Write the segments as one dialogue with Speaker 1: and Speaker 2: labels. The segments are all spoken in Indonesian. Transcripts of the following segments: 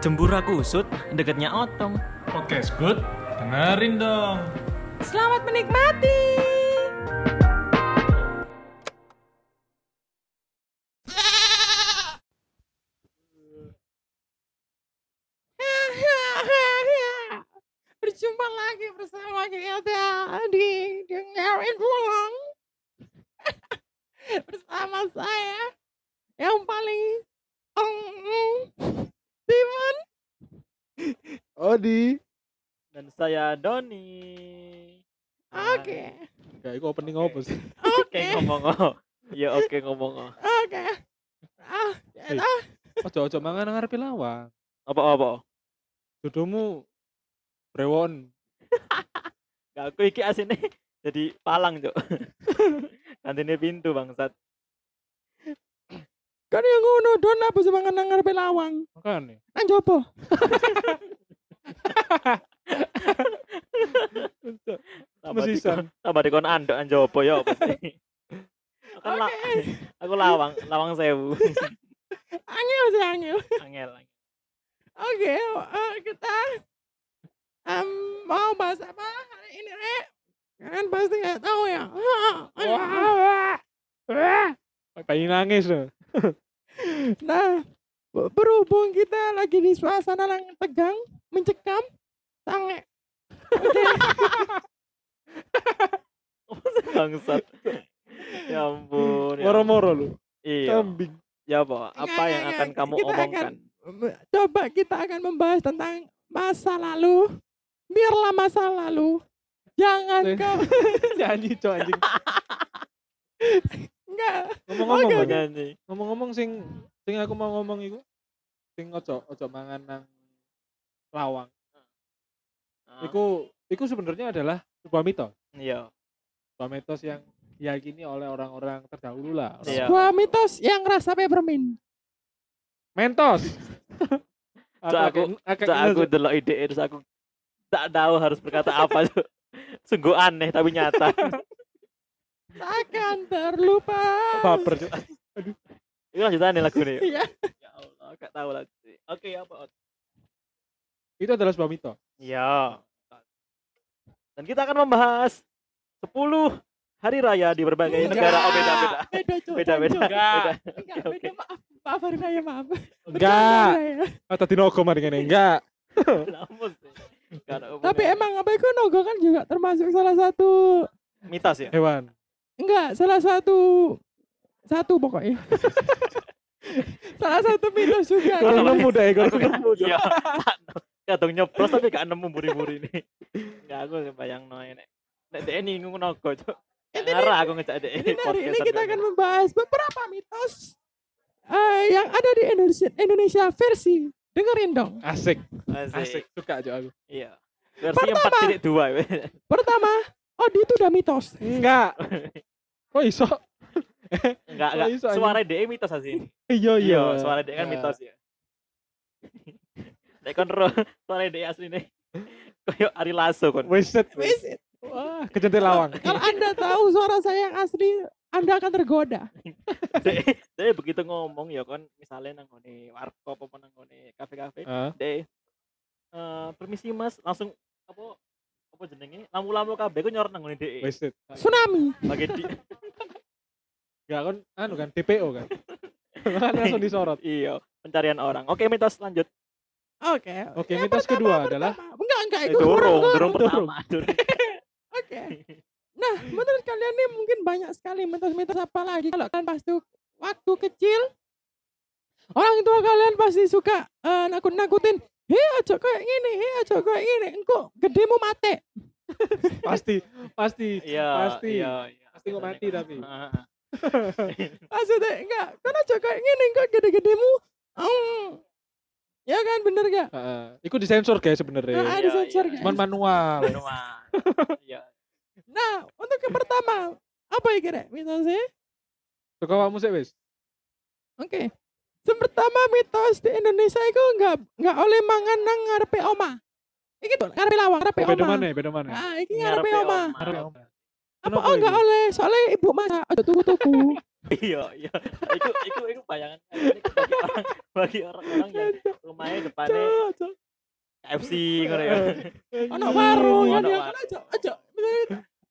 Speaker 1: Jembura kusut, deketnya otong.
Speaker 2: Podcast good, dengerin dong.
Speaker 3: Selamat menikmati. Berjumpa lagi bersama kita di dengerin pulang. bersama saya yang paling ong ong, Simon.
Speaker 4: Odi.
Speaker 5: dan saya Doni.
Speaker 3: Oke,
Speaker 4: Ya, itu opening apa sih?
Speaker 3: oke,
Speaker 5: Oke ngomong oh. Ya oke ngomong oh.
Speaker 3: oke. Ah,
Speaker 4: Eh.
Speaker 3: ah,
Speaker 4: Ojo-ojo mangan ngarepe lawang.
Speaker 5: Apa apa?
Speaker 4: Jodomu brewon.
Speaker 5: Gak aku iki asine jadi palang, Cuk. Kantine pintu bangsat.
Speaker 3: kan yang ngono don apa sih mangan nang ngarepe lawang?
Speaker 4: Makane.
Speaker 3: Nang jopo?
Speaker 5: Tambah
Speaker 4: Mesisan.
Speaker 5: dikon- Tambah dikon andok anjopo ya apa sih? Kan la- aku lawang, lawang sewu.
Speaker 3: Angel sih angel.
Speaker 5: Angel. angel.
Speaker 3: Oke, eh, kita em, mau bahas apa hari ini, Re? Kalian pasti nggak tahu ya.
Speaker 4: Pengen nangis loh.
Speaker 3: Nah, be- berhubung kita lagi di suasana yang tegang, mencekam, sange.
Speaker 5: Bangsat. Ya ampun. ya ampun.
Speaker 4: Moro-moro lu.
Speaker 5: Iya.
Speaker 4: Kambing.
Speaker 5: Ya apa?
Speaker 3: Enggak,
Speaker 5: Apa yang
Speaker 3: enggak,
Speaker 5: akan
Speaker 3: enggak.
Speaker 5: kamu
Speaker 3: Kita akan-
Speaker 5: omongkan?
Speaker 3: Em, eh, Coba kita akan membahas tentang masa lalu. Biarlah masa lalu. Jangan
Speaker 4: Eh.
Speaker 3: kau
Speaker 4: Nyanyi cok anjing.
Speaker 3: enggak.
Speaker 4: Ngomong-ngomong
Speaker 5: Mau
Speaker 4: Bang.
Speaker 5: nyanyi.
Speaker 4: ngomong-ngomong sing sing aku mau ngomong iku sing ojo ojo mangan nang lawang.
Speaker 5: Ah,
Speaker 4: Iku iku sebenarnya adalah sebuah mitos.
Speaker 5: Iya.
Speaker 4: Sebuah mitos yang diyakini oleh orang-orang terdahulu lah. Orang-
Speaker 5: Iya.
Speaker 3: Gua mitos yang rasa peppermint.
Speaker 4: Mentos.
Speaker 5: Cok, aku-
Speaker 4: agak
Speaker 5: Cak
Speaker 3: gitu
Speaker 4: ngeles,
Speaker 5: aku delok ide terus aku tak tahu harus berkata apa Cuk. Sungguh aneh tapi nyata.
Speaker 3: Takkan terlupa.
Speaker 4: baper Cok.
Speaker 5: Ini lanjutannya lagu nih.
Speaker 3: Iya.
Speaker 5: Ya Allah, gak tahu lagi. Oke, apa? Ot?
Speaker 4: Itu adalah sebuah mitos.
Speaker 5: Iya. Dan kita akan membahas 10 hari raya di
Speaker 3: Enggak.
Speaker 5: berbagai negara. Oh, beda-beda.
Speaker 3: Beda, Cuk,
Speaker 5: Beda-beda.
Speaker 3: Cuk.
Speaker 5: Beda.
Speaker 3: Enggak,
Speaker 5: Oke,
Speaker 3: beda. Maaf, maaf Arina ya, maaf.
Speaker 4: Enggak.
Speaker 3: Bercanda, Arina, ya.
Speaker 4: Ah, tadi nogo mari ngene. Enggak.
Speaker 5: Kenapa sih? Gak ada hubungannya.
Speaker 3: Tapi emang apa itu nogo kan juga termasuk salah satu
Speaker 5: mitos ya?
Speaker 4: Hewan.
Speaker 3: enggak, salah satu satu pokoknya. salah satu mitos juga.
Speaker 4: Kurang
Speaker 5: Kenapa?
Speaker 4: nemu deh, kurang
Speaker 5: Aku gak-
Speaker 4: nemu. Cok.
Speaker 5: Iya. Kadang Iya, nyeplos tapi gak nemu buri-buri ini. Enggak aku kebayang no ini. Nek dek ini ngungu nogo, Cuk.
Speaker 3: Ini-
Speaker 5: Ngarah aku ngejak dek
Speaker 3: Jadi hari ini
Speaker 5: podcastan
Speaker 3: kita
Speaker 5: kayak
Speaker 3: akan
Speaker 5: gini.
Speaker 3: membahas beberapa mitos eh, yang ada di Indonesia, Indonesia versi. Dengerin dong.
Speaker 4: Asik.
Speaker 5: Asik.
Speaker 4: Asik. Suka Cok aku.
Speaker 5: Iya. Versi
Speaker 3: Pertama.
Speaker 5: 4.2 weh.
Speaker 3: Pertama, Odi itu udah mitos.
Speaker 4: Enggak. Kok iso?
Speaker 5: Enggak,
Speaker 4: Oh,
Speaker 5: enggak.
Speaker 4: iso, anjing.
Speaker 5: Suara DE mitos sih.
Speaker 3: Oh,
Speaker 4: Iya, iya.
Speaker 5: Iya, suara DE kan
Speaker 4: Iya.
Speaker 5: mitos ya. Nek kon ro, suara DE asli nih. Koyo Ari Lasso kon.
Speaker 4: Wasted.
Speaker 3: Wis,
Speaker 4: Wah, kejentil lawang.
Speaker 3: Kalau Anda tahu suara saya yang asli, Anda akan tergoda.
Speaker 5: DE DE begitu ngomong ya kon misalnya nang ngone warkop apa nang ngone kafe-kafe.
Speaker 4: Ah,
Speaker 5: DE eh permisi Mas, langsung apa apa jenenge? Lamu-lamu kabeh ku nyorot nang ngone DE.
Speaker 4: wasted.
Speaker 3: Tsunami.
Speaker 5: Bagi di
Speaker 4: Enggak kan anu kan DPO kan. Kan langsung disorot.
Speaker 5: iya, pencarian orang. Oke, mitos lanjut.
Speaker 3: Oke.
Speaker 4: Oke,
Speaker 3: Yang
Speaker 4: mitos
Speaker 3: pertama,
Speaker 4: kedua
Speaker 3: pertama.
Speaker 4: adalah
Speaker 3: enggak enggak
Speaker 5: Eh,
Speaker 3: itu
Speaker 5: dorong,
Speaker 3: kurang.
Speaker 5: dorong
Speaker 4: dorong.
Speaker 5: pertama. dorong.
Speaker 3: Oke. Nah, menurut kalian nih mungkin banyak sekali mitos-mitos apa lagi kalau kalian pasti waktu kecil orang tua kalian pasti suka eh, nakut-nakutin Hei aja kayak gini, hei aja kayak gini, engkau gedemu mati.
Speaker 4: pasti pasti
Speaker 5: Iya,
Speaker 4: Pasti.
Speaker 5: Iya, iya.
Speaker 4: Pasti kok mati tapi.
Speaker 5: Heeh.
Speaker 3: Maksudnya enggak, kan aja kayak gini, engkau gede-gedemu. Ong. Ya kan, bener gak?
Speaker 4: Heeh. Iku disensor guys sebenarnya.
Speaker 3: Ah, ada
Speaker 5: iya,
Speaker 3: sensor
Speaker 5: iya.
Speaker 3: guys.
Speaker 4: Cuman manual.
Speaker 5: manual. Iya.
Speaker 3: Nah, untuk yang pertama, apa ya kira? Mitosnya?
Speaker 4: Suka kamu sih wis.
Speaker 3: Oke. Yang pertama mitos di Indonesia itu nggak nggak oleh mangan nang ngarepe oma. Iki tuh ngarepe lawang, ngarepe
Speaker 4: Beda
Speaker 3: oma.
Speaker 4: mana? Beda mana?
Speaker 3: Ah, iki ngarepe oma.
Speaker 4: Arek om.
Speaker 3: Apa
Speaker 4: Kenapa
Speaker 3: oh
Speaker 4: itu?
Speaker 3: nggak oleh? Soalnya ibu masak, ada tuku-tuku.
Speaker 5: Iya, iya. Itu itu itu bayangan kalian itu bagi orang bagi orang-orang yang belum omahe depane
Speaker 4: Cok, cok.
Speaker 5: KFC ngono ya.
Speaker 3: ono warung
Speaker 5: Ono
Speaker 3: ya dia
Speaker 5: warung.
Speaker 3: kan aja aja misalnya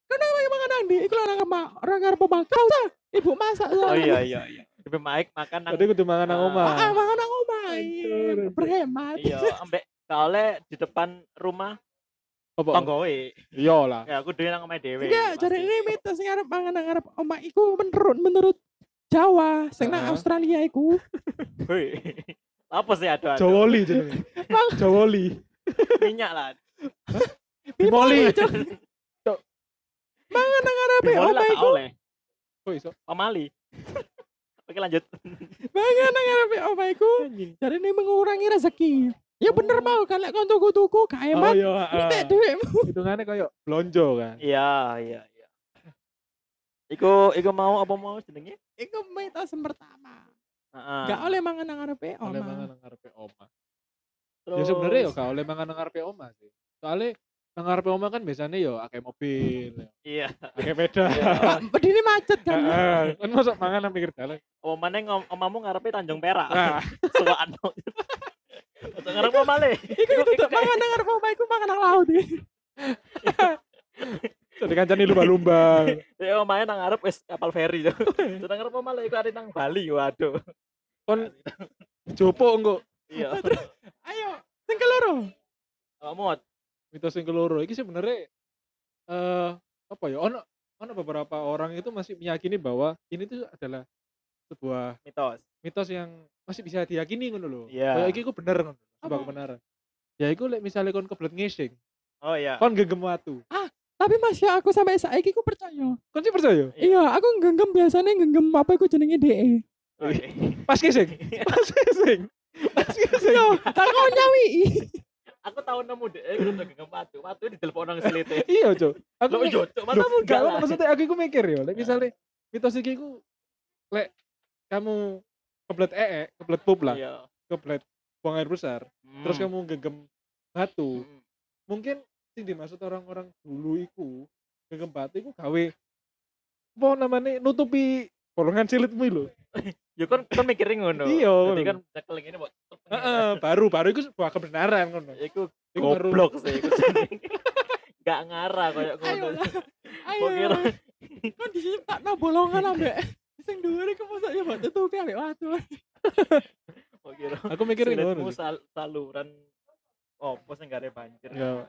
Speaker 3: kenapa yang makan nang ndi iku lah nang ma orang arep makan ta ibu masak
Speaker 5: Oh iya iya iya. Tapi Mike makan nang
Speaker 4: Tadi kudu mangan nang
Speaker 5: Ah.
Speaker 4: omah.
Speaker 3: ah makan nang omah iya.
Speaker 4: Aduh.
Speaker 3: berhemat
Speaker 5: iya ambek kaole di depan rumah
Speaker 4: Apa?
Speaker 5: tonggoe.
Speaker 4: Iya lah.
Speaker 5: Ya aku dhewe nang omahe dhewe.
Speaker 3: enggak
Speaker 5: pasti.
Speaker 3: jadi ini mitos sing arep mangan nang arep omah iku menurut menurut Jawa sing nang
Speaker 4: Heeh.
Speaker 3: Australia iku
Speaker 5: Hoi. Apa sih aduh aduh
Speaker 4: Jawoli jenenge. Jawoli.
Speaker 5: minyak lah.
Speaker 4: Bimoli.
Speaker 3: Cok.
Speaker 4: Cok.
Speaker 3: mangan nang arep
Speaker 5: Bimoli
Speaker 3: omah
Speaker 5: lah tak
Speaker 3: iku
Speaker 5: oleh.
Speaker 4: Kok Oh, iso?
Speaker 5: Pamali. Oke lanjut.
Speaker 3: mangan nang arep omah iku jadi ini mengurangi rezeki ya bener mau kan lek kon tuku-tuku gak
Speaker 4: Oh
Speaker 3: hemat
Speaker 4: iya.
Speaker 3: entek duitmu
Speaker 4: Hitungane koyo blonjo kan.
Speaker 5: Iya iya iya. Iku iku mau apa mau jenenge?
Speaker 3: Iku mitos yang pertama.
Speaker 5: Heeh.
Speaker 4: ya
Speaker 3: Gak oleh mangan nang arepe
Speaker 4: Ah. Oleh
Speaker 3: oma.
Speaker 4: mangan nang ngarepe omah. Ya sebenarnya yo gak oleh mangan nang ngarepe omah sih. Soale nang ngarepe omah kan biasanya yo akeh mobil,
Speaker 5: Iya.
Speaker 4: akeh sepeda. Ah.
Speaker 3: Pak, Bedine macet kan.
Speaker 4: Heeh. Kan masuk mangan nang pinggir dalan.
Speaker 5: Apa maneh Oh, ngom omamu ngarepe Tanjung Perak.
Speaker 4: Nah,
Speaker 5: Sowan. Ojo ngarep omale.
Speaker 3: Iku tutup mangan nang arepe oma iku mangan nang laut. iki.
Speaker 4: jadi kancane lumba-lumba.
Speaker 5: Ya omahe nang ngarep wis kapal feri. Cuk. Ojo nang ngarep omale iku arep nang Bali. Waduh.
Speaker 4: Kon jopo engko
Speaker 5: Iya.
Speaker 3: Ayo, sing keloro.
Speaker 5: Kamu
Speaker 4: mitos yang keloro iki sebenarnya eh apa ya ono ono beberapa orang itu masih meyakini bahwa ini tuh adalah sebuah
Speaker 5: mitos.
Speaker 4: mitos yang masih bisa diyakini ngono lho.
Speaker 5: Iya.
Speaker 4: Kayak iki ku bener ngono, sebuah
Speaker 3: Apa?
Speaker 4: kebenaran. Ya iku lek misale kon kebelet ngising,
Speaker 5: Oh iya.
Speaker 4: kon gegem watu.
Speaker 3: Tapi masih aku sampai saiki ku percaya.
Speaker 4: Kon sih percaya?
Speaker 3: Iya,
Speaker 5: Iya.
Speaker 3: aku genggam biasanya genggam apa iku jenenge E. DE.
Speaker 5: Oke.
Speaker 4: Pas ngising,
Speaker 5: Iya.
Speaker 4: pas ngising. Pas ngising.
Speaker 3: Yo, Iya, tak kau nyawi.
Speaker 5: Aku tahu nemu deh, eh, gue udah gegem batu, batu di telepon orang selite.
Speaker 4: Iya, Cuk. Aku
Speaker 5: Lo
Speaker 4: mikir-
Speaker 5: yo, cok,
Speaker 4: Loh,
Speaker 5: matamu
Speaker 4: gak
Speaker 5: enggak
Speaker 4: ono,
Speaker 5: lah. Iya.
Speaker 4: maksudnya aku iku mikir yo, lek misale mitos iki ku lek kamu kebelet ee, kebelet pup lah,
Speaker 5: Iya.
Speaker 4: kebelet buang air besar, terus
Speaker 5: Hmm.
Speaker 4: kamu gegem batu
Speaker 5: Hmm.
Speaker 4: mungkin sing dimaksud orang-orang dulu iku gegem batu iku gawe apa namanya nutupi bolongan silitmu lho
Speaker 5: Ya kan kan mikirin ngono.
Speaker 4: Iya,
Speaker 5: Jadi
Speaker 4: ngono.
Speaker 5: kan cekel ngene kok.
Speaker 4: Heeh, baru baru iku sebuah kebenaran ngono
Speaker 5: Iku
Speaker 4: Iku baru-
Speaker 5: goblok sih iku. Enggak ngarah koyo
Speaker 3: Ayo
Speaker 5: ngono.
Speaker 3: lah. Ayo.
Speaker 5: Kok kira-
Speaker 3: Kan di sini tak no bolongan ambek sing dhuwur iku mosok ya mbok tutupi ambek watu.
Speaker 5: Kok kira
Speaker 4: aku mikir
Speaker 5: silitmu
Speaker 4: ngono sih.
Speaker 5: sal- saluran opo sing gare banjir.
Speaker 4: ya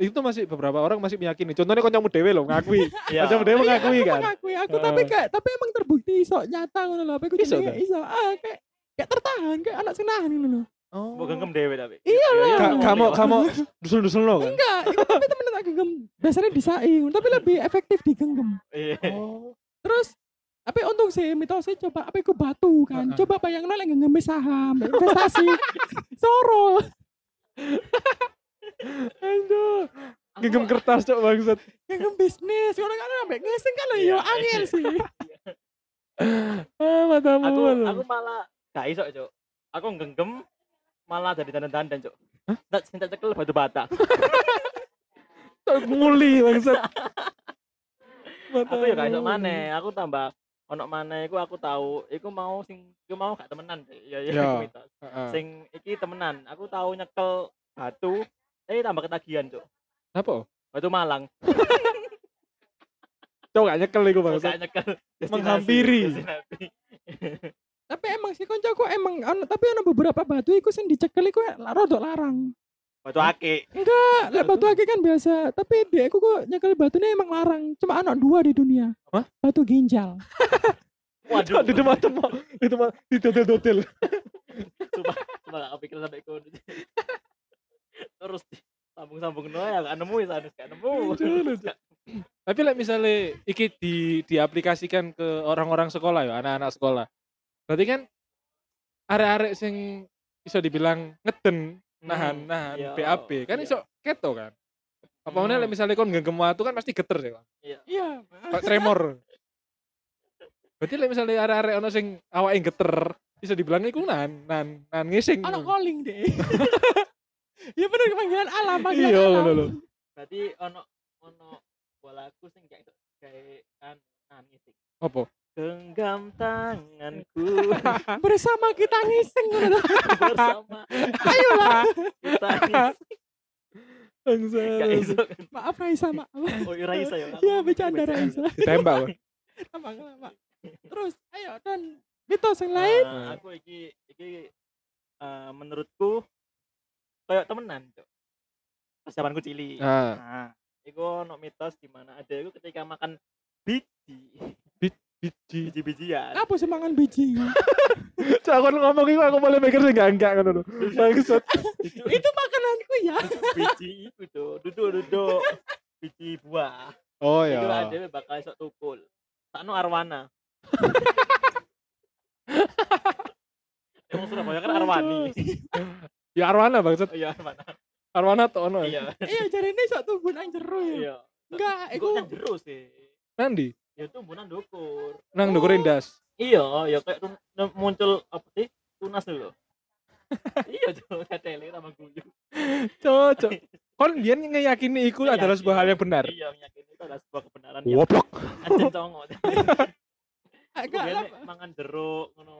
Speaker 4: itu masih beberapa orang masih meyakini contohnya kancamu dewe lho ngakui
Speaker 5: Iya.
Speaker 4: kancamu dewe
Speaker 3: Iya, aku
Speaker 4: ngakui kan
Speaker 3: mengakui aku tapi
Speaker 4: Heeh.
Speaker 3: kayak tapi emang terbukti iso nyata ngono lho apa iku
Speaker 4: Iso
Speaker 3: jenenge
Speaker 4: ta?
Speaker 3: iso ah kayak kayak tertahan kayak anak sing nahan ngono lho
Speaker 5: Mbok genggam dhewe tapi.
Speaker 4: Iya
Speaker 5: Iya,
Speaker 3: Iyalah.
Speaker 4: Ka-
Speaker 5: ngomong
Speaker 4: kamu
Speaker 5: dhewe.
Speaker 4: kamu dusul-dusul lo kan
Speaker 3: enggak itu tapi temen tak genggam biasanya disai ngono, tapi lebih efektif digenggam
Speaker 5: Iya.
Speaker 4: oh
Speaker 3: terus tapi untung sih mitosnya coba apa iku batu kan
Speaker 4: Heeh.
Speaker 3: coba bayangin lek genggam saham investasi soro
Speaker 4: aduh gegem kertas cok bangsat
Speaker 3: genggam bisnis ngono kan ambek ngesing kan lho
Speaker 5: Iya.
Speaker 3: ya angel sih
Speaker 4: ah matamu
Speaker 5: Aku
Speaker 4: Mas.
Speaker 5: aku malah gak iso, Cuk. Aku genggam malah jadi dandan-dandan, Cuk. Tak cinta cekel batu bata.
Speaker 4: Tak nguli bangsat.
Speaker 5: Aku ya gak iso maneh, aku tambah ono maneh iku aku tahu iku mau sing iku mau gak temenan. sih. Ya ya
Speaker 4: Ya.
Speaker 5: iku mitos. sing iki temenan aku tahu nyekel batu eh tambah ketagihan cuk
Speaker 4: Apa?
Speaker 5: batu malang
Speaker 4: Cok gak nyekel iku
Speaker 5: Kok
Speaker 4: bangsat.
Speaker 5: gak nyekel Destinasi,
Speaker 4: Menghampiri.
Speaker 5: destinasi.
Speaker 3: tapi emang sih koncoku emang ono- tapi ono beberapa batu iku sing dicekel iku rodok larang
Speaker 5: batu akik
Speaker 3: Enggak, lek batu akik kan biasa, tapi dia aku kok nyekel batunya emang larang. Cuma anak dua di dunia.
Speaker 4: Hah?
Speaker 3: Batu ginjal.
Speaker 5: waduh
Speaker 4: Di tempat tempat di tempat di hotel-hotel.
Speaker 5: cuma gak kepikiran sampai kono terus sambung-sambung no ya gak nemu ya sanus gak nemu
Speaker 4: Iya, Lucu, lucu. Tapi like misalnya iki di diaplikasikan ke orang-orang sekolah ya, anak-anak sekolah. Berarti kan arek-arek sing bisa dibilang ngeden, nahan, nahan
Speaker 5: iya,
Speaker 4: BAB kan
Speaker 5: iya.
Speaker 4: iso keto kan. Apa meneh like
Speaker 5: Hmm.
Speaker 4: misalnya kon genggam watu kan pasti geter ya.
Speaker 3: Iya.
Speaker 4: Kayak tremor. Berarti like misalnya arek-arek ono sing awake geter, bisa dibilang iku nan nan nan ngising. Iya,
Speaker 3: Anak calling deh. Iya bener panggilan alam, panggilan
Speaker 4: Iya
Speaker 3: alam.
Speaker 4: ngono lho.
Speaker 5: berarti ono ono bolaku sing kayak kayak kan anu, nangis sih
Speaker 4: Apa?
Speaker 5: Genggam tanganku
Speaker 3: bersama kita ngising gitu.
Speaker 5: bersama
Speaker 3: ayolah
Speaker 5: kita Gak
Speaker 4: Bangsa.
Speaker 5: iso.
Speaker 3: maaf Raisa maaf
Speaker 5: Oh, iya, Raisa ya.
Speaker 3: iya bercanda Raisa
Speaker 4: Ditembak, Pak.
Speaker 3: Lama, lama. terus ayo dan mitos yang lain
Speaker 5: Eh, aku iki iki eh, menurutku kayak temenan, Cok. Pas zamanku cilik.
Speaker 4: Nah,
Speaker 5: Nah, itu ono mitos di mana ada itu ketika makan biji,
Speaker 4: biji.
Speaker 5: biji-bijian.
Speaker 3: apa semangan biji
Speaker 4: Cak, aku ngomong iku aku boleh mikir sih enggak enggak ngono lho. Bangsat.
Speaker 5: Itu
Speaker 3: itu makananku ya
Speaker 5: biji itu, Cok. Duduk-duduk biji buah.
Speaker 4: Oh
Speaker 5: Itu
Speaker 4: ya.
Speaker 5: ada bakal esok tukul. Sakno arwana. Emang Surabaya kan arwani.
Speaker 4: Ya Arwana bangsat.
Speaker 5: Oh iya, arwana.
Speaker 4: Arwana to ono. ya?
Speaker 5: Iya,
Speaker 3: iya cari ini sok tubuh nang jero ya
Speaker 5: iya.
Speaker 3: enggak
Speaker 5: Iku kan
Speaker 3: aku
Speaker 5: nang jero sih.
Speaker 4: Nandi.
Speaker 5: ya tumbuhan dukur
Speaker 4: Nang ndukur ndas.
Speaker 5: iya ya kayak tun- ne- muncul apa sih tunas dulu iya tuh tele sama guyu
Speaker 4: Cocok. Kon biyen ngeyakini iku adalah sebuah hal yang benar.
Speaker 5: iya meyakini itu adalah sebuah kebenaran yang
Speaker 4: Woblok.
Speaker 5: ajen congo
Speaker 3: agak
Speaker 5: kemudian
Speaker 3: lama.
Speaker 5: mangan jeruk ngono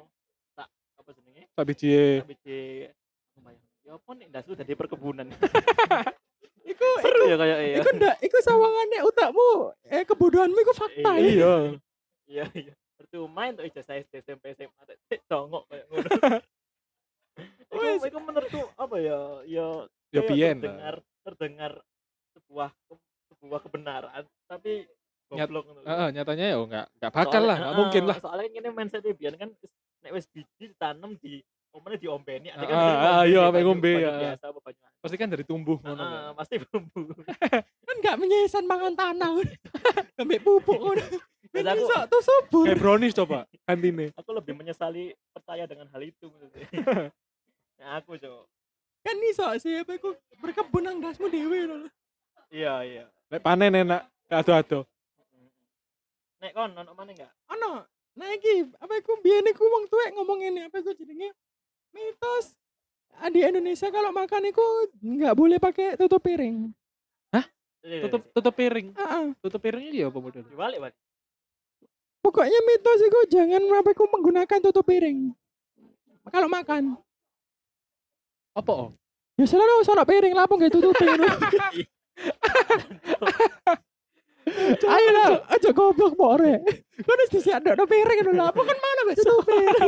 Speaker 5: tak apa jenenge
Speaker 4: Tak biji.
Speaker 5: tapi di ya apa nih ndas lu dari perkebunan
Speaker 3: iku
Speaker 5: seru ya kayak iya
Speaker 3: iku ndak iku sawangannya utakmu eh kebodohanmu iku fakta ya
Speaker 4: Iya.
Speaker 5: iya iya percuma untuk ijazah SD SMP SMA tak congo kayak ngono
Speaker 3: Wes.
Speaker 5: Iku, iku menurutku apa ya ya
Speaker 4: Ya
Speaker 5: Kayak
Speaker 4: biyen.
Speaker 5: terdengar terdengar sebuah sebuah kebenaran tapi
Speaker 4: Nyat-
Speaker 5: goblok ngono.
Speaker 4: Heeh, nyatanya ya enggak enggak bakal
Speaker 5: Soalnya-
Speaker 4: lah, enggak mungkin
Speaker 5: heeh,
Speaker 4: lah.
Speaker 5: soalnya ini mindset biyen kan nek wis biji ditanam di omane diombeni ada
Speaker 4: Heeh, heeh,
Speaker 5: ngombe,
Speaker 4: iya,
Speaker 5: ya,
Speaker 4: apa
Speaker 5: banyu-
Speaker 4: ngombe,
Speaker 5: banyu
Speaker 4: ya.
Speaker 5: biasa apa banyu
Speaker 4: Pasti kan dari tumbuh ngono.
Speaker 5: Heeh,
Speaker 4: kan.
Speaker 5: pasti bumbu
Speaker 3: kan enggak menyesan mangan tanah ambek pupuk ngono
Speaker 5: Terus
Speaker 3: Ini
Speaker 5: aku-
Speaker 3: sok tuh subur
Speaker 4: Kayak brownies coba antine.
Speaker 5: aku lebih menyesali percaya dengan hal itu maksudnya. nah, aku cok
Speaker 3: kan iso sih apa iku berkebun nang dasmu dhewe lho
Speaker 5: iya iya
Speaker 4: Lek panen enak. Ado-ado.
Speaker 5: nek kon ono mana enggak
Speaker 3: ono nah iki apa iku biyen iku wong tuwek ngomong ini apa iku jenenge mitos Ah, di Indonesia kalau makan iku nggak boleh pakai tutup piring
Speaker 5: Iya,
Speaker 4: Tutup tutup piring.
Speaker 3: Heeh.
Speaker 4: Tutup piringnya dia apa model?
Speaker 5: Eh, dibalik Pak.
Speaker 3: pokoknya mitos iku jangan apa iku menggunakan tutup piring kalau makan
Speaker 4: Apa oh?
Speaker 3: ya selalu sono piring lapung nggak tutupi ayo lah aja goblok bore kan harus disiak ada piring lho lapung kan mana nggak tutupi
Speaker 5: iya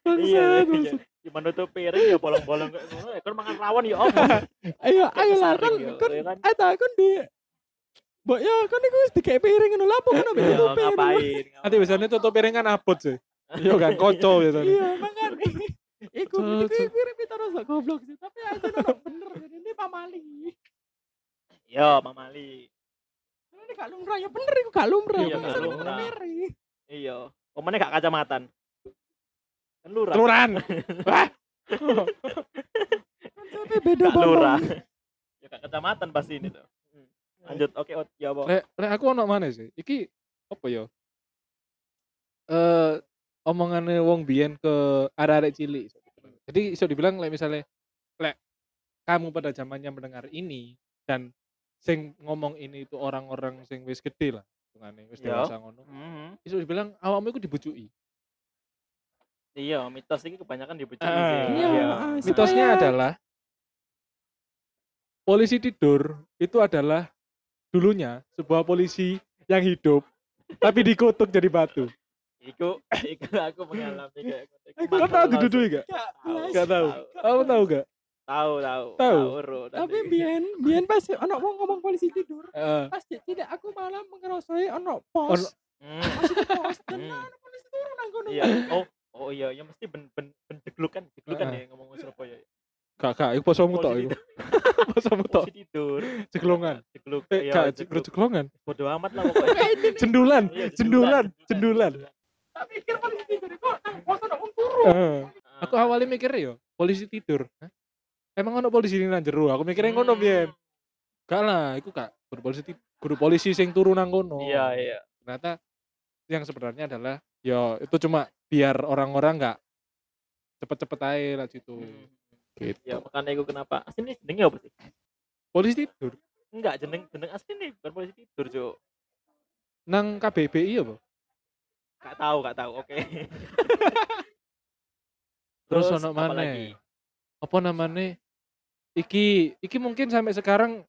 Speaker 4: Bangsat,
Speaker 5: iya
Speaker 4: bangsat.
Speaker 5: gimana tuh piring ya bolong-bolong kayak ngono ya kon makan rawon ya apa
Speaker 3: ayo ayo lah kan
Speaker 5: Saring ya,
Speaker 3: kan
Speaker 5: ya kan?
Speaker 3: eta kan di Mbok ya kan iku wis dikek piring ngono lapung kan ambek
Speaker 5: Iya,
Speaker 3: tutupi ngono.
Speaker 5: ngapain
Speaker 4: Nanti biasanya tutup piring kan abot sih. Iya kan kocok biasanya.
Speaker 3: iya makan iku iku
Speaker 4: Cuk, cuk.
Speaker 3: piring terus gak goblok sih tapi aja ono bener jadi ini pamali
Speaker 5: yo mamali
Speaker 3: ini gak lumrah ya bener iku gak lumrah
Speaker 5: Iya,
Speaker 3: Kok
Speaker 5: gak
Speaker 3: bisa tutup
Speaker 5: lumrah.
Speaker 3: piring
Speaker 5: iya omane gak kacamatan kan lurah
Speaker 4: Teluran. Wah.
Speaker 3: tapi beda
Speaker 5: gak lurah
Speaker 3: banget
Speaker 5: ya gak kacamatan pasti ini tuh Hmm. lanjut oke ot ya apa
Speaker 4: Lek lek aku ono mana sih? Iki apa ya? Eh omongane wong biyen ke arek-arek cilik. Jadi iso dibilang lek misalnya lek kamu pada zamannya mendengar ini dan sing ngomong ini itu orang-orang sing wis gede lah hitungannya wis
Speaker 5: Ya.
Speaker 4: dewasa ngono
Speaker 5: Mhm.
Speaker 4: iso dibilang awakmu iku dibujuki
Speaker 5: iya mitos ini kebanyakan dibujuk
Speaker 4: Ah.
Speaker 3: Iya,
Speaker 5: iya
Speaker 3: ah, Supaya-
Speaker 4: mitosnya adalah polisi tidur itu adalah dulunya sebuah polisi yang hidup tapi dikutuk jadi batu
Speaker 5: iku iku aku mengalami kayak
Speaker 3: Iku
Speaker 4: Kau tahu didudui gak?
Speaker 3: Gak
Speaker 5: Tahu,
Speaker 4: Gak
Speaker 3: belas.
Speaker 4: tahu. Kamu tahu gak?
Speaker 5: tahu tahu
Speaker 4: Tahu.
Speaker 5: Ro,
Speaker 3: tapi
Speaker 5: nanti.
Speaker 3: biyen biyen pas ono wong ngomong polisi tidur
Speaker 4: Heeh.
Speaker 3: pas dia tidak aku malah mengerosoi ono pos
Speaker 5: Hmm,
Speaker 3: masuk pos
Speaker 5: hmm.
Speaker 3: tenan polisi turun nang kono
Speaker 5: iya oh oh iya ya mesti ben ben ben deglukan deglukan
Speaker 4: Ah.
Speaker 5: ya ngomong Surabaya Oh,
Speaker 4: Gak gak, iku posomu tok
Speaker 5: Polisi
Speaker 4: iku. Posomu tok.
Speaker 5: Polisi tidur
Speaker 4: Ceglongan.
Speaker 5: jegluk
Speaker 4: Eh,
Speaker 5: iya,
Speaker 4: gak
Speaker 5: jegluk.
Speaker 4: ceglongan.
Speaker 5: bodo amat lah pokoknya
Speaker 3: kayak ini
Speaker 4: Cendulan,
Speaker 5: Iya,
Speaker 4: cendulan, cendulan.
Speaker 3: tak pikir polisi tidur kok nang pos ono wong turun
Speaker 4: Heeh.
Speaker 5: Ah.
Speaker 4: Aku awalnya mikir yo, polisi tidur. Hah? Emang ono polisi ini nang jero? Aku mikirnya ngono
Speaker 5: Hmm.
Speaker 4: biyen. Gak lah, iku gak guru polisi ti- guru polisi sing turu nang kono.
Speaker 5: iya iya
Speaker 4: Ternyata yang sebenarnya adalah yo itu cuma biar orang-orang gak cepet-cepet aja lah gitu.
Speaker 5: Hmm. ya
Speaker 4: Gitu.
Speaker 5: makanya aku kenapa asli ini jenengnya apa sih
Speaker 4: Polisi tidur
Speaker 5: enggak jeneng jeneng asli nih bukan polisi tidur cok
Speaker 4: nang KBBI apa?
Speaker 5: Gak tahu, gak tahu. Oke.
Speaker 4: Terus ono
Speaker 5: apa
Speaker 4: maneh?
Speaker 5: lagi?
Speaker 4: apa namanya iki iki mungkin sampai sekarang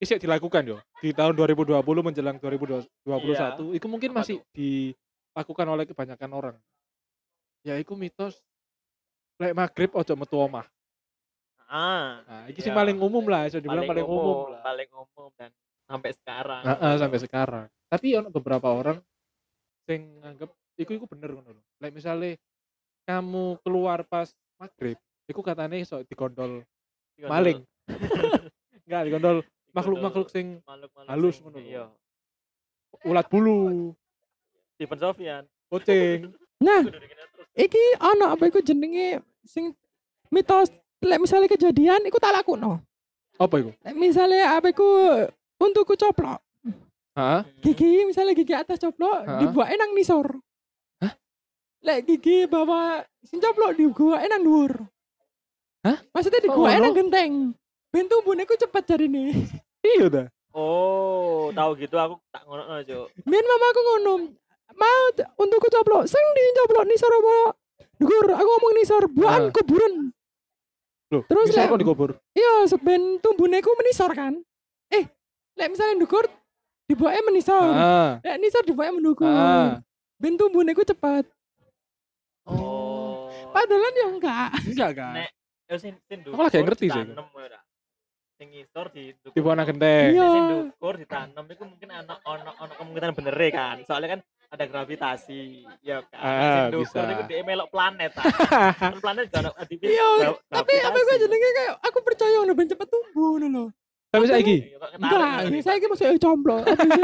Speaker 4: isih dilakukan yo di tahun 2020 menjelang 2021 itu mungkin
Speaker 5: Apa
Speaker 4: masih dilakukan oleh kebanyakan orang ya iku mitos lek maghrib ojo metu omah
Speaker 5: Ah,
Speaker 4: nah iki sing
Speaker 5: Iya.
Speaker 4: paling umum lah bisa dibilang paling, umum, lah.
Speaker 5: paling umum dan sampai sekarang.
Speaker 4: Nah, eh, sampai sekarang tapi ono beberapa orang sing nganggep iku iku bener ngono lho lek misale kamu keluar pas maghrib iku katanya iso digondol
Speaker 5: Digondol-
Speaker 4: maling enggak digondol
Speaker 5: digondol
Speaker 4: makhluk-makhluk sing
Speaker 5: makhluk-makhluk
Speaker 4: halus
Speaker 5: sing-
Speaker 4: ngono lho.
Speaker 5: Iya.
Speaker 4: ulat bulu,
Speaker 5: Steven ya, Sofyan.
Speaker 4: kucing.
Speaker 3: Nah,
Speaker 5: Kudu dikenal terus.
Speaker 3: iki ono apa iku jenenge sing mitos lek misalnya kejadian iku tak lakuno.
Speaker 4: Apa itu?
Speaker 3: Lek misalnya apa iku untukku coplok.
Speaker 4: Hah?
Speaker 3: Gigi misalnya gigi atas coplok
Speaker 4: Hah?
Speaker 3: dibuake nang nisor.
Speaker 4: Hah?
Speaker 3: Lek gigi bawah sing coplok dibuake nang dhuwur.
Speaker 4: Hah?
Speaker 3: Maksudnya dibuake
Speaker 4: Kok
Speaker 3: nang
Speaker 4: ono?
Speaker 3: genteng. Ben tumbune ku cepet jarine.
Speaker 4: Iya dah.
Speaker 5: Oh, tahu gitu aku tak ngono aja.
Speaker 3: Biar mamaku ngono. Mau t- untuk ku coplok, sing dicoplok nisor apa? Dhuwur, aku ngomong nisor, buan
Speaker 4: Ah.
Speaker 3: kuburan.
Speaker 4: Loh,
Speaker 3: Terus, Lem?
Speaker 4: bisa kok dikubur?
Speaker 3: Iya, seben tumbune ku menisor kan. Eh, lek misalnya dhuwur dibuake menisor.
Speaker 4: Ah.
Speaker 3: Lek nisor dibuake mendukur.
Speaker 4: Ah.
Speaker 3: Ben tumbune ku cepat.
Speaker 5: Oh.
Speaker 3: Padahal ya enggak.
Speaker 4: Enggak kan?
Speaker 5: Nek, eh, sing sing
Speaker 4: Aku lagi
Speaker 5: dukur
Speaker 4: ngerti sih.
Speaker 5: ditanam, ora? Sing ngisor di Ya,
Speaker 4: Di buana genteng.
Speaker 3: Iya.
Speaker 5: Sing dukur ditanam itu mungkin anak ono ono kemungkinan bener kan. Soalnya kan ada gravitasi, ya kan.
Speaker 4: Ah,
Speaker 5: sing dukur
Speaker 4: bisa.
Speaker 5: itu dia melok planet. ah. Kan planet gak ono aktivitas.
Speaker 3: Iya,
Speaker 5: gra-
Speaker 3: tapi apa gue
Speaker 5: gravitasi.
Speaker 3: jenenge kayak aku percaya ngono ben cepet tumbuh ngono lho.
Speaker 4: Tapi saiki.
Speaker 5: Iya, kok ketarik
Speaker 3: Enggak,
Speaker 5: ngono
Speaker 3: ini
Speaker 5: nih,
Speaker 3: saya iki masih coplok. Apa sih?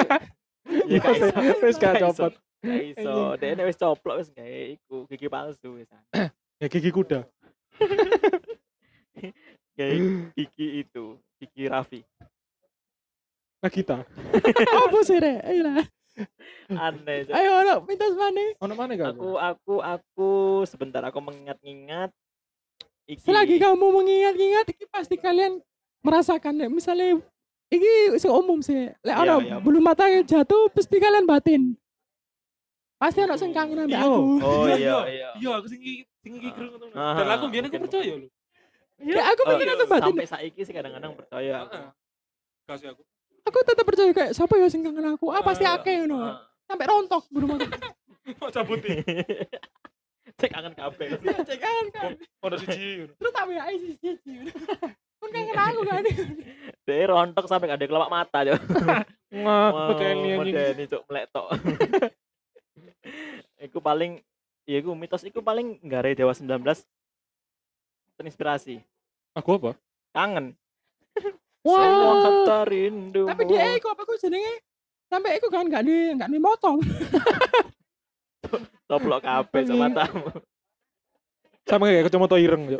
Speaker 5: Iya, gak iso.
Speaker 4: Wis gak
Speaker 5: Gak iso.
Speaker 4: copot.
Speaker 5: Gak iso. Dia wis coplok wis gak iku gigi palsu wis.
Speaker 4: Ya gigi kuda.
Speaker 5: Kayak gigi itu, gigi Raffi.
Speaker 4: Nagita.
Speaker 3: Apa sih rek? Ayo lah.
Speaker 5: Aneh. Cok.
Speaker 3: Ayo ono mitos
Speaker 5: Iya.
Speaker 3: mana?
Speaker 4: Ono mana gak?
Speaker 5: Aku aku aku sebentar aku mengingat-ingat iki.
Speaker 3: Selagi kamu mengingat-ingat iki pasti kalian merasakan ya. Misalnya iki sing umum sih. Lek
Speaker 5: Iya,
Speaker 3: ono
Speaker 5: iya.
Speaker 3: belum mata jatuh pesti kalian batin. Pasti ono sing
Speaker 5: Hmm.
Speaker 3: kangen ambek
Speaker 4: Iya.
Speaker 3: aku.
Speaker 5: Oh iya iya.
Speaker 4: Iya, aku sing iki sing iki kru ngono.
Speaker 5: Ah,
Speaker 4: Dan aku biyen aku
Speaker 5: mungkin,
Speaker 4: percaya lho.
Speaker 3: Ya aku
Speaker 5: Oh,
Speaker 3: pikir aku batin.
Speaker 5: sampai saiki sih kadang-kadang percaya aku.
Speaker 4: Heeh. Kasih aku.
Speaker 3: Aku tetap percaya kayak siapa ya sing kangen aku? Ah pasti
Speaker 4: Ah,
Speaker 3: akeh ngono.
Speaker 5: Heeh.
Speaker 3: Sampai rontok belum mata.
Speaker 4: Kok cabut iki?
Speaker 5: Cek kangen kabeh.
Speaker 3: Cek kangen kan.
Speaker 4: Ono siji ngono.
Speaker 3: Terus tak WA sih sih. Pun kangen aku kan.
Speaker 5: Dek rontok sampai gak ada kelopak mata yo.
Speaker 4: Wah, medeni anjing.
Speaker 5: Medeni cok melek tok. Iku paling ya iku mitos iku paling nggare Dewa 19 terinspirasi.
Speaker 4: Aku apa?
Speaker 5: Kangen. Semua
Speaker 3: Wah.
Speaker 5: kata rindu.
Speaker 3: Tapi dia iku apa ku jenenge? Sampai iku kan gak di gak di motong.
Speaker 5: toplok kabeh cok matamu.
Speaker 4: Sama kayak kacamata ireng ya. yo.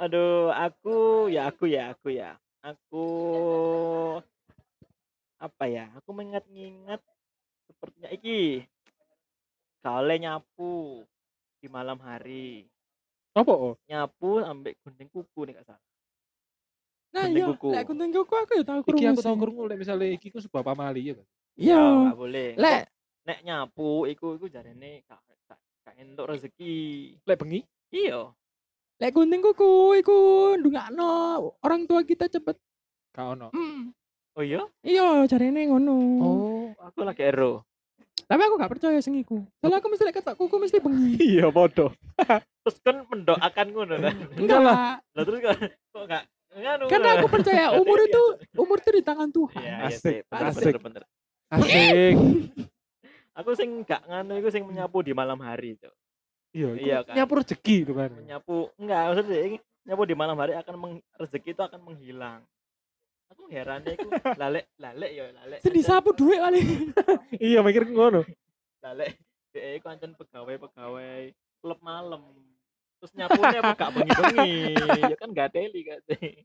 Speaker 5: Aduh, aku ya aku ya aku ya. Aku apa ya? Aku mengingat-ingat sepertinya iki. Kale nyapu di malam hari.
Speaker 4: Apa? oh?
Speaker 5: Nyapu ambek gunting kuku nih kak Sal.
Speaker 3: Nah,
Speaker 5: Gunting
Speaker 3: iya,
Speaker 5: kuku.
Speaker 3: lek gunting kuku aku ya tau
Speaker 4: Iki
Speaker 3: krungu.
Speaker 4: aku tau
Speaker 3: sih.
Speaker 4: krungu lek misale iki ku sebuah pamali ya kan.
Speaker 3: Iya.
Speaker 5: nggak boleh.
Speaker 3: Lek
Speaker 5: nek nyapu iku iku jarene gak gak gak entuk rezeki.
Speaker 4: Lek bengi
Speaker 5: Iya.
Speaker 3: lek gunting kuku iku ndungakno orang tua kita cepet.
Speaker 4: gak ono.
Speaker 3: Mm.
Speaker 5: Oh iya,
Speaker 3: Iya, jarene ngono.
Speaker 4: Oh,
Speaker 5: aku lagi ero.
Speaker 3: Tapi aku gak percaya sing iku. Soalnya aku mesti lek ketok kuku mesti bengi.
Speaker 4: iya bodoh.
Speaker 5: Terus kan mendoakan ngono kan.
Speaker 4: Enggak lah.
Speaker 5: Lah terus kok kok gak nganu.
Speaker 3: Karena aku percaya
Speaker 5: Berarti
Speaker 3: umur
Speaker 5: ini
Speaker 3: itu
Speaker 4: Iya.
Speaker 3: umur itu di tangan Tuhan.
Speaker 5: Iya, iya
Speaker 4: Asik,
Speaker 5: sih. Bener,
Speaker 4: asik.
Speaker 5: bener, bener.
Speaker 4: Asik.
Speaker 5: Aku sing gak nganu iku sing menyapu di malam hari itu.
Speaker 4: Iya,
Speaker 5: Iya,
Speaker 4: iya
Speaker 5: kan. Iya.
Speaker 4: nyapu rezeki itu kan.
Speaker 5: Menyapu enggak maksudnya ini nyapu di malam hari akan meng, rezeki itu akan menghilang. Aku heran deh aku lalek lalek ya lalek.
Speaker 3: Sedih
Speaker 5: ancen-
Speaker 3: sapu duit kali.
Speaker 4: Iya, mikir ngono.
Speaker 5: Lalek deh aku ancen pegawai-pegawai klub malam. Terus nyapunya apa gak bengi-bengi. ya kan gak daily gak sih.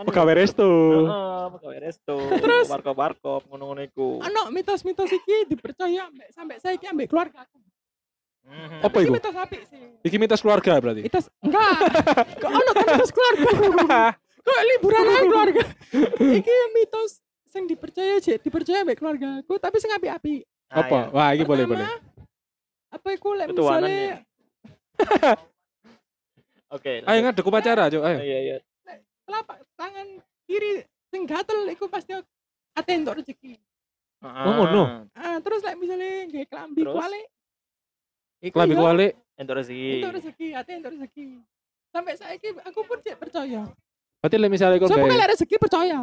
Speaker 5: Kan
Speaker 4: Pegawai resto.
Speaker 5: Heeh, pegawai resto. Terus warkop-warkop ngono-ngono iku.
Speaker 3: Ono mitos-mitos iki dipercaya ambek sampai saiki ambek keluarga aku.
Speaker 5: Mhm.
Speaker 4: Apa
Speaker 3: Iki
Speaker 4: iku?
Speaker 3: mitos apik sih.
Speaker 4: Iki mitos keluarga berarti.
Speaker 3: Mitos enggak. Kok ono kan mitos keluarga. kok liburan aja keluarga iki mitos sing dipercaya sih dipercaya mbek keluarga aku tapi sing api api
Speaker 5: Ah,
Speaker 4: Apa?
Speaker 5: ya.
Speaker 4: Wah, ini boleh
Speaker 3: Pertama,
Speaker 4: boleh.
Speaker 3: Apa iku lek
Speaker 5: Ketuanan
Speaker 3: misale
Speaker 5: ya. Oke.
Speaker 4: Ayo
Speaker 5: lanjut.
Speaker 4: ngaduk upacara, Cuk. Ayo.
Speaker 5: Iya, iya.
Speaker 3: telapak tangan kiri sing gatel iku pasti ate entuk rezeki.
Speaker 5: Oh,
Speaker 4: ngono.
Speaker 3: Ah, terus lek misale nggih klambi
Speaker 5: Terus? Iya,
Speaker 3: kuali iku
Speaker 4: Klambi
Speaker 3: ya,
Speaker 4: kuali.
Speaker 5: Entuk rezeki.
Speaker 3: Entuk rezeki, ate entuk rezeki. Sampai saiki aku pun cek percaya.
Speaker 4: Berarti lek misalnya kon
Speaker 3: Sopo
Speaker 4: gawe.
Speaker 3: lek rezeki percaya.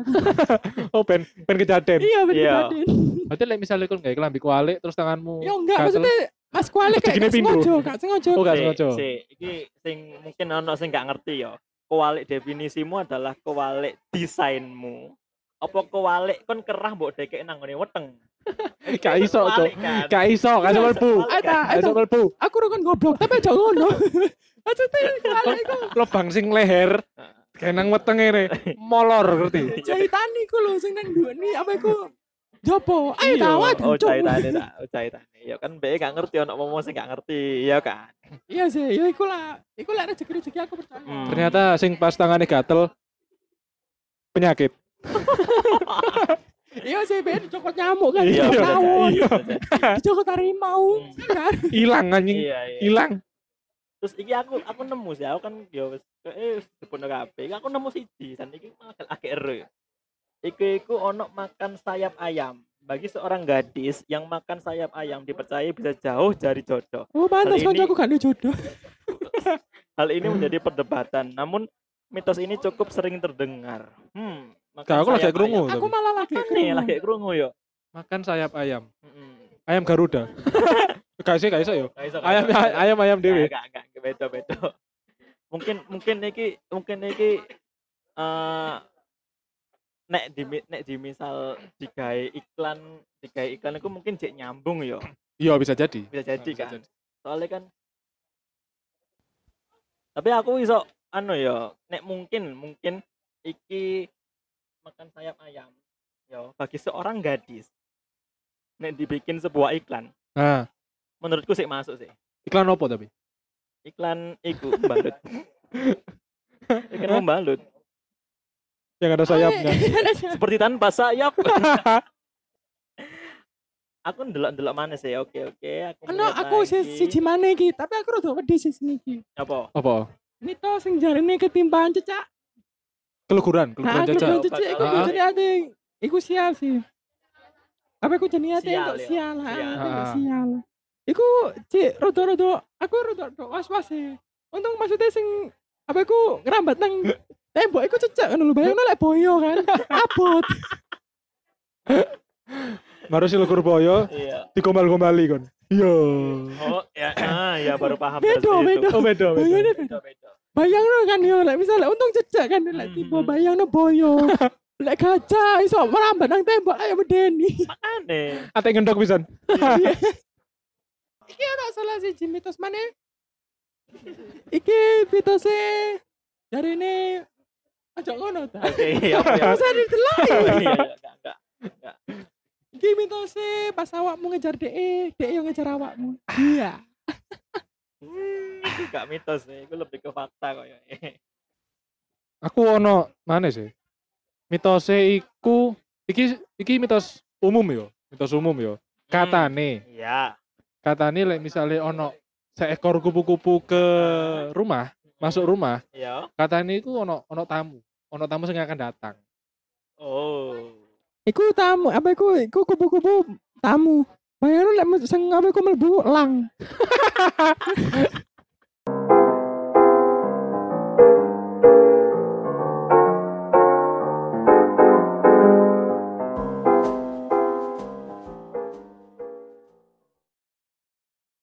Speaker 4: Oh, ben ben kejaden.
Speaker 3: iya bener
Speaker 5: Iya.
Speaker 3: Baden.
Speaker 4: Berarti lek misalnya kon gawe kelambi kuali terus tanganmu.
Speaker 3: Yo Ya enggak
Speaker 4: gatel.
Speaker 3: maksudnya Mas Kuali kayak
Speaker 4: Rezekinya
Speaker 3: gak
Speaker 4: pindu.
Speaker 3: sengaja, gak sengaja.
Speaker 4: Oh, gak
Speaker 5: Si-
Speaker 4: sengaja.
Speaker 5: si, Iki sing mungkin ono sing gak ngerti ya. Kewalik definisimu adalah kewalik desainmu. Apa kewalik kon kerah mbok dekek nang ngene weteng.
Speaker 4: Gak iso, Cuk.
Speaker 5: Kewalik kan.
Speaker 4: Gak iso, gak iso mlebu.
Speaker 5: Kewalik kan.
Speaker 3: Ada,
Speaker 4: Gak iso
Speaker 3: ada.
Speaker 4: mlebu.
Speaker 3: eh, Aku rukun goblok, tapi aja ngono. Maksudnya Kuali iku
Speaker 4: Lobang sing leher. Kenang weteng ini. Molor, ngerti?
Speaker 3: jahitan iku lho sing nang duweni apa iku jopo. Ayo
Speaker 5: Iya,
Speaker 3: tawa
Speaker 5: Oh, caitane tak, oh, caitane. Ya kan mbek gak ngerti ono momo sing gak ngerti, ya kan.
Speaker 3: Iya sih, ya iku lah. Iku lah rezeki-rezeki aku percaya.
Speaker 5: Hmm.
Speaker 4: Ternyata sing pas tangannya gatel penyakit.
Speaker 3: Iya sih, ben cokot nyamuk kan.
Speaker 5: Iya,
Speaker 3: Iya,
Speaker 5: bisa
Speaker 3: nyawon.
Speaker 5: jadi, bisa jadi.
Speaker 3: Dicokot harimau.
Speaker 5: Hmm.
Speaker 3: Kan?
Speaker 4: Hilang anjing,
Speaker 5: Iya, iya.
Speaker 4: hilang.
Speaker 5: Terus iki aku aku nemu sih, aku kan ya wis eh wis dipono kabeh. Aku nemu siji, dan iki malah gak akeh ero. Iki iku ono makan sayap ayam. Bagi seorang gadis yang makan sayap ayam dipercaya bisa jauh dari jodoh.
Speaker 3: Oh, pantas
Speaker 5: Kali ini-
Speaker 3: kancaku gak ada jodoh.
Speaker 5: Hal ini
Speaker 4: Hmm.
Speaker 5: menjadi perdebatan, namun mitos ini cukup sering terdengar. Hmm, makan
Speaker 4: Gak aku lagi
Speaker 5: sayap ayam.
Speaker 4: kerungu.
Speaker 3: Aku malah lagi
Speaker 5: Nih,
Speaker 3: kerungu.
Speaker 5: lagi kerungu yo.
Speaker 4: Makan sayap ayam.
Speaker 5: Mm-mm.
Speaker 4: Ayam Garuda. Gak sih, gak iso yo.
Speaker 5: Gak iso, gak
Speaker 4: Ayam
Speaker 5: iso, gak iso.
Speaker 4: ayam ayam dewe.
Speaker 5: Enggak, enggak, enggak, beda, beda. Mungkin mungkin iki mungkin iki eh nek di nek di misal digawe iklan digawe iklan itu mungkin cek nyambung yo
Speaker 4: Iya bisa jadi.
Speaker 5: bisa jadi
Speaker 4: Bisa
Speaker 5: kan
Speaker 4: jadi.
Speaker 5: soalnya kan tapi aku iso anu ya nek mungkin mungkin iki makan sayap ayam yo bagi seorang gadis nek dibikin sebuah iklan
Speaker 4: Nah,
Speaker 5: menurutku sih masuk sih
Speaker 4: iklan opo tapi?
Speaker 5: iklan iku membalut iklan membalut
Speaker 4: Yang ada
Speaker 3: iya,
Speaker 4: sayapnya.
Speaker 5: seperti tanpa sayap aku ndelok ndelok mana sih oke oke aku
Speaker 3: Kena
Speaker 5: melihat
Speaker 3: aku si
Speaker 5: lagi.
Speaker 3: siji mana iki, tapi aku rada wedi sih sini iki.
Speaker 5: apa
Speaker 4: Apa?
Speaker 3: Nito sing jarene ketimpaan cecak.
Speaker 4: Keluguran, keluguran
Speaker 3: Nah,
Speaker 4: jajal.
Speaker 3: kebetulan cecak iku
Speaker 4: Ah.
Speaker 3: jadi ate. Iku sial sih. Apa iku jenenge ate
Speaker 5: Sial,
Speaker 3: entuk
Speaker 5: ya.
Speaker 3: sial, ha,
Speaker 5: Sial.
Speaker 3: ate entuk
Speaker 4: Ah.
Speaker 3: sial. Iku cek rada-rada aku rada-rada was-was sih. Untung maksudnya sing apa iku ngerambat nang tembok iku cecak ngono lho, bayangno lek boyo kan. Abot.
Speaker 4: Baru si lugur boyo
Speaker 5: iya
Speaker 4: digombal-gombali kon. Iya.
Speaker 5: oh ya ah ya baru paham
Speaker 3: Beda,
Speaker 5: dari situ.
Speaker 3: beda.
Speaker 4: Oh beda,
Speaker 3: Boyo
Speaker 4: beda.
Speaker 3: ini
Speaker 5: beda beda
Speaker 3: bayangno kan yo lek misalnya untung cecak kan lek tiba
Speaker 4: Hmm.
Speaker 5: Mhm.
Speaker 3: bayangno boyo. Lek gajah iso merambat nang tembok ayo medeni.
Speaker 5: aneh
Speaker 4: Ate ngendok pisan.
Speaker 3: tak salah sih Jimmy mitos mana iki mitosnya dari ini aja ngono ta
Speaker 5: oke apa ya
Speaker 3: bisa didelai
Speaker 5: Oh, iya, iya, enggak, enggak.
Speaker 3: iki mitosnya pas awakmu ngejar de E, de yang ngejar awakmu iya
Speaker 5: Hmm, itu enggak mitos nih itu lebih ke fakta kok ya
Speaker 4: Aku ono mana sih? Mitose iku iki iki mitos umum yo. Mitos umum yo. Katane.
Speaker 5: iya
Speaker 4: katanya lek misalnya ono seekor kupu-kupu ke rumah masuk rumah
Speaker 5: iya
Speaker 4: katanya itu ono ono tamu ono tamu sing akan datang
Speaker 5: oh
Speaker 3: iku tamu apa iku iku kupu-kupu tamu bayar lek mes- sing apa iku mlebu lang